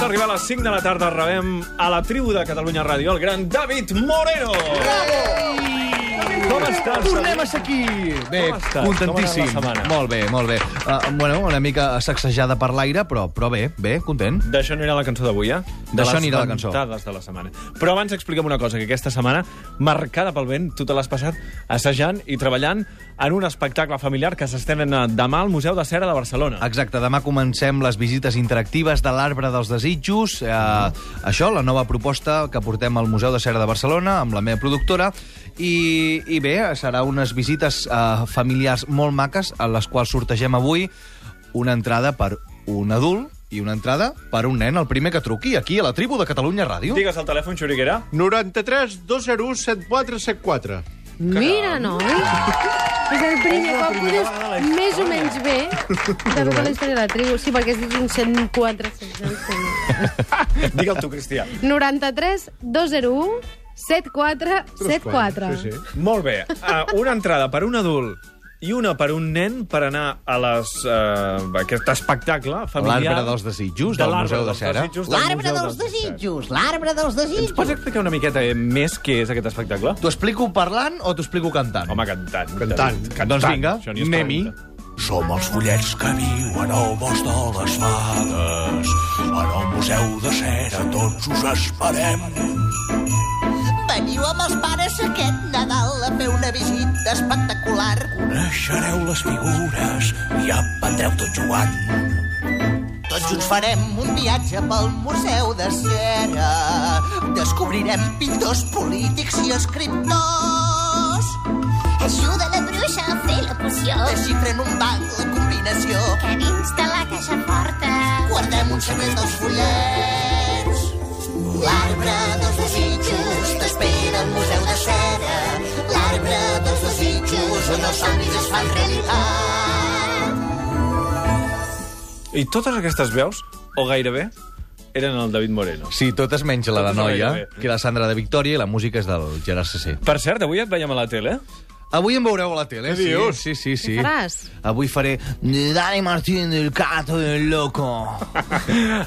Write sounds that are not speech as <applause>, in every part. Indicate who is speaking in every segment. Speaker 1: d'arribar a les 5 de la tarda rebem a la tribu de Catalunya Ràdio el gran David Moreno. Com estàs,
Speaker 2: Tornem
Speaker 1: David?
Speaker 2: a ser aquí! Bé,
Speaker 1: Com estàs? Com ha anat
Speaker 2: contentíssim.
Speaker 1: la setmana?
Speaker 2: Molt bé, molt bé. Uh, bueno, una mica sacsejada per l'aire, però, però bé, bé, content.
Speaker 1: D'això anirà la cançó d'avui, eh? De
Speaker 2: D'això
Speaker 1: les
Speaker 2: anirà la cançó.
Speaker 1: ventades de la setmana. Però abans explica'm una cosa, que aquesta setmana, marcada pel vent, tu te l'has passat assajant i treballant en un espectacle familiar que s'estrena demà al Museu de Cera de Barcelona.
Speaker 2: Exacte, demà comencem les visites interactives de l'Arbre dels Desitjos. Eh, això, la nova proposta que portem al Museu de Cera de Barcelona amb la meva productora. I, i bé, serà unes visites eh, familiars molt maques en les quals sortegem avui una entrada per un adult i una entrada per un nen, el primer que truqui aquí a la tribu de Catalunya Ràdio.
Speaker 1: Digues el telèfon, Xuriguera.
Speaker 3: 93 201 7474.
Speaker 4: Mira, noi! És el primer
Speaker 1: És la
Speaker 4: cop que ho
Speaker 1: primera vegada a la
Speaker 4: dius més o menys bé de tota la història de la tribu. Sí, perquè has dit un 104, 105.
Speaker 1: Digue'l tu, Cristià.
Speaker 4: 93 201 7474.
Speaker 3: Sí, sí.
Speaker 1: Molt bé. Uh, una entrada per un adult i una per un nen per anar a les, uh, aquest espectacle familiar...
Speaker 2: L'Arbre dels Desitjos,
Speaker 1: de
Speaker 2: del
Speaker 1: l'Arbre
Speaker 2: Museu de
Speaker 1: dels
Speaker 2: Cera.
Speaker 1: Desitjos del
Speaker 5: L'arbre
Speaker 1: Museu
Speaker 5: dels desitjos, l'arbre dels
Speaker 1: Ens pots
Speaker 5: desitjos.
Speaker 1: explicar una miqueta eh, més què és aquest espectacle?
Speaker 2: T'ho explico parlant o t'ho explico cantant?
Speaker 1: Home, cantant.
Speaker 3: Cantant.
Speaker 1: cantant.
Speaker 2: Doncs vinga,
Speaker 1: Això ni es
Speaker 2: anem-hi.
Speaker 1: pregunta.
Speaker 6: Som els follets que viuen al bosc de les fades. En el Museu de Cera tots us esperem.
Speaker 5: Veniu amb els pares aquest Nadal a fer una visita espectacular.
Speaker 6: Coneixereu les figures i aprendreu tot jugant.
Speaker 5: Tots junts farem un viatge pel Museu de Cera. Descobrirem pintors, polítics i escriptors.
Speaker 7: Ajuda la bruixa a fer la poció
Speaker 5: Desxifrem un banc la combinació.
Speaker 7: que dins de la caixa porta.
Speaker 5: Guardem un secret dels follets. L'arbre dels desitjos t'espera al Museu de Cera. L'arbre dels desitjos on els somnis es fan realitat.
Speaker 1: I totes aquestes veus, o gairebé, eren el David Moreno.
Speaker 2: Sí, totes menys la de
Speaker 1: Totes
Speaker 2: noia,
Speaker 1: gairebé.
Speaker 2: que la Sandra de Victòria i la música és del Gerard Cessé.
Speaker 1: Per cert, avui et veiem a la
Speaker 2: <laughs>
Speaker 1: tele.
Speaker 2: Avui em veureu a la tele, sí? Sí, sí, sí.
Speaker 4: Què faràs?
Speaker 2: Avui faré Dani Martín, el gato del loco.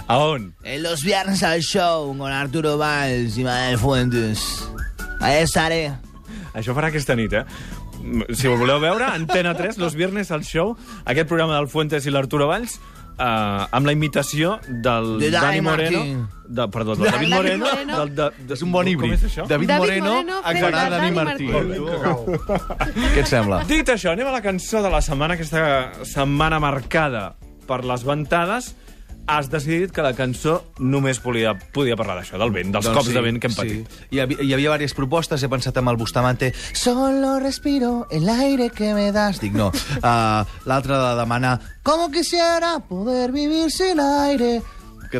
Speaker 1: A on?
Speaker 2: En los viernes al show con Arturo Valls i Manuel Fuentes. Ahí estaré.
Speaker 1: Això farà aquesta nit, eh? Mm, Si ho voleu veure, Antena 3, los viernes al show, aquest programa del Fuentes i l'Arturo Valls, eh, amb la imitació del
Speaker 2: De
Speaker 1: Dani
Speaker 2: Dani
Speaker 1: Moreno...
Speaker 2: Martín.
Speaker 1: De, perdó, del David
Speaker 4: Dani
Speaker 1: Moreno.
Speaker 4: Moreno.
Speaker 1: Del, de, de,
Speaker 2: És un bon híbrid.
Speaker 1: Com és això?
Speaker 2: David,
Speaker 4: David
Speaker 2: Moreno,
Speaker 4: Moreno
Speaker 2: farà
Speaker 4: fent de
Speaker 2: Dani
Speaker 4: Dani
Speaker 2: Martín.
Speaker 4: Martín.
Speaker 2: Què et sembla?
Speaker 1: Dit això, anem a la cançó de la setmana, aquesta setmana marcada per les ventades. Has decidit que la cançó només podia, podia parlar d'això, del vent, dels cops de vent que hem patit.
Speaker 2: Doncs Sí. Hi, havia, hi havia diverses propostes, he pensat en el Bustamante, solo respiro el aire que me das. Dic,
Speaker 1: <laughs>
Speaker 2: no. Uh, L'altra de demana, como quisiera poder vivir sin aire que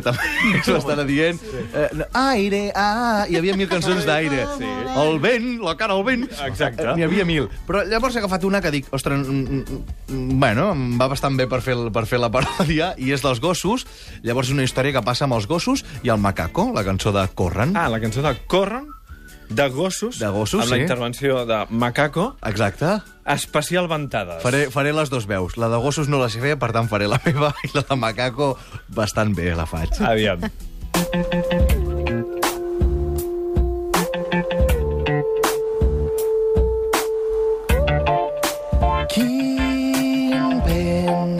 Speaker 1: <laughs>
Speaker 2: també se l'estan dient. Eh, no, aire, ah... Hi havia mil cançons d'aire. Sí. El vent, la cara al vent.
Speaker 1: Exacte.
Speaker 2: Eh, N'hi havia mil. Però llavors he agafat una que dic, ostres, mm, mm, mm, bueno, em va bastant bé per fer, el- per fer la paròdia, <laughs> i és dels gossos. Llavors és una història que passa amb els gossos i el macaco, la cançó de Corren.
Speaker 1: Ah, la cançó de Corren, de gossos,
Speaker 2: De gossos,
Speaker 1: amb la
Speaker 2: sí.
Speaker 1: intervenció de Macaco,
Speaker 2: Exacte.
Speaker 1: especial ventades.
Speaker 2: Faré, faré les dues veus. La de gossos no la sé fer, per tant faré la meva, i la de macaco bastant bé la faig.
Speaker 1: Aviam.
Speaker 2: Quin vent,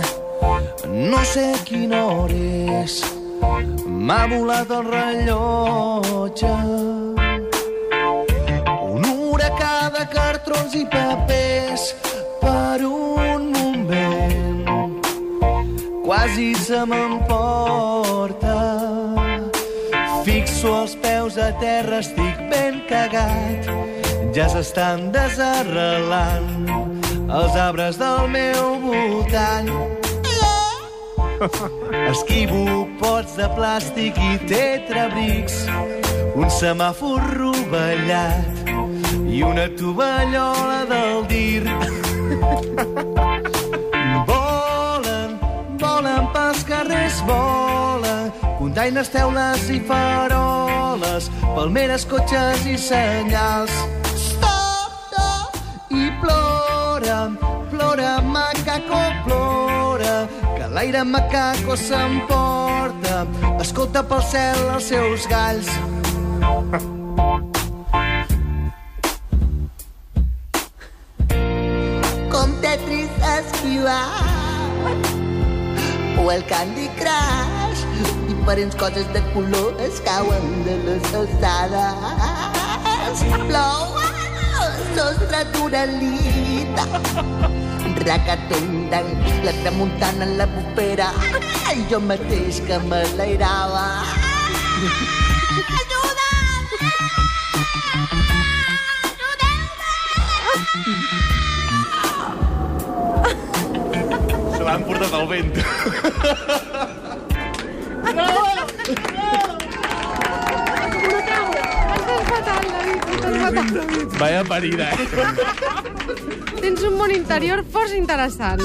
Speaker 2: no sé quina hora és, m'ha volat el rellotge. Un huracà de cartrons i papers per un moment. Quasi se m'emporta. Fixo els peus a terra, estic ben cagat. Ja s'estan desarrelant els arbres del meu voltant. Esquivo pots de plàstic i tetrabrics, un semàfor rovellat i una tovallola del dir. Volen, volen pels carrers, volen, containes, teules i faroles, palmeres, cotxes i senyals. Stop, stop, i plora, plora, macaco, plora, que l'aire macaco s'emporta.
Speaker 8: porta, escolta pel cel els seus galls.
Speaker 5: Com Tetris esquivar o el Candy Crush diferents coses de color es cauen de les alçades plou al sostre d'Uralita racatundan la tramuntana en la bufera i jo mateix que me l'airava
Speaker 3: Se l'han portat al vent.
Speaker 4: Estàs fatal, David, estàs fatal.
Speaker 1: Vaya parida, eh?
Speaker 4: Tens un món interior força interessant.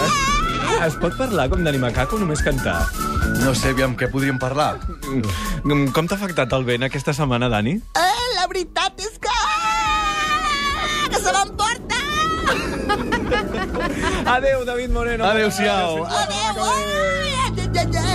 Speaker 1: Es pot parlar com d'anima caca o només cantar?
Speaker 2: No sé, aviam, què podríem parlar?
Speaker 1: Mm, Com t'ha afectat el vent aquesta setmana, Dani?
Speaker 5: Eh, la veritat és que... que se m'emporta!
Speaker 1: Adeu, David Moreno.
Speaker 2: Adéu-siau.
Speaker 5: Adéu! Ai, ai, ai, ai.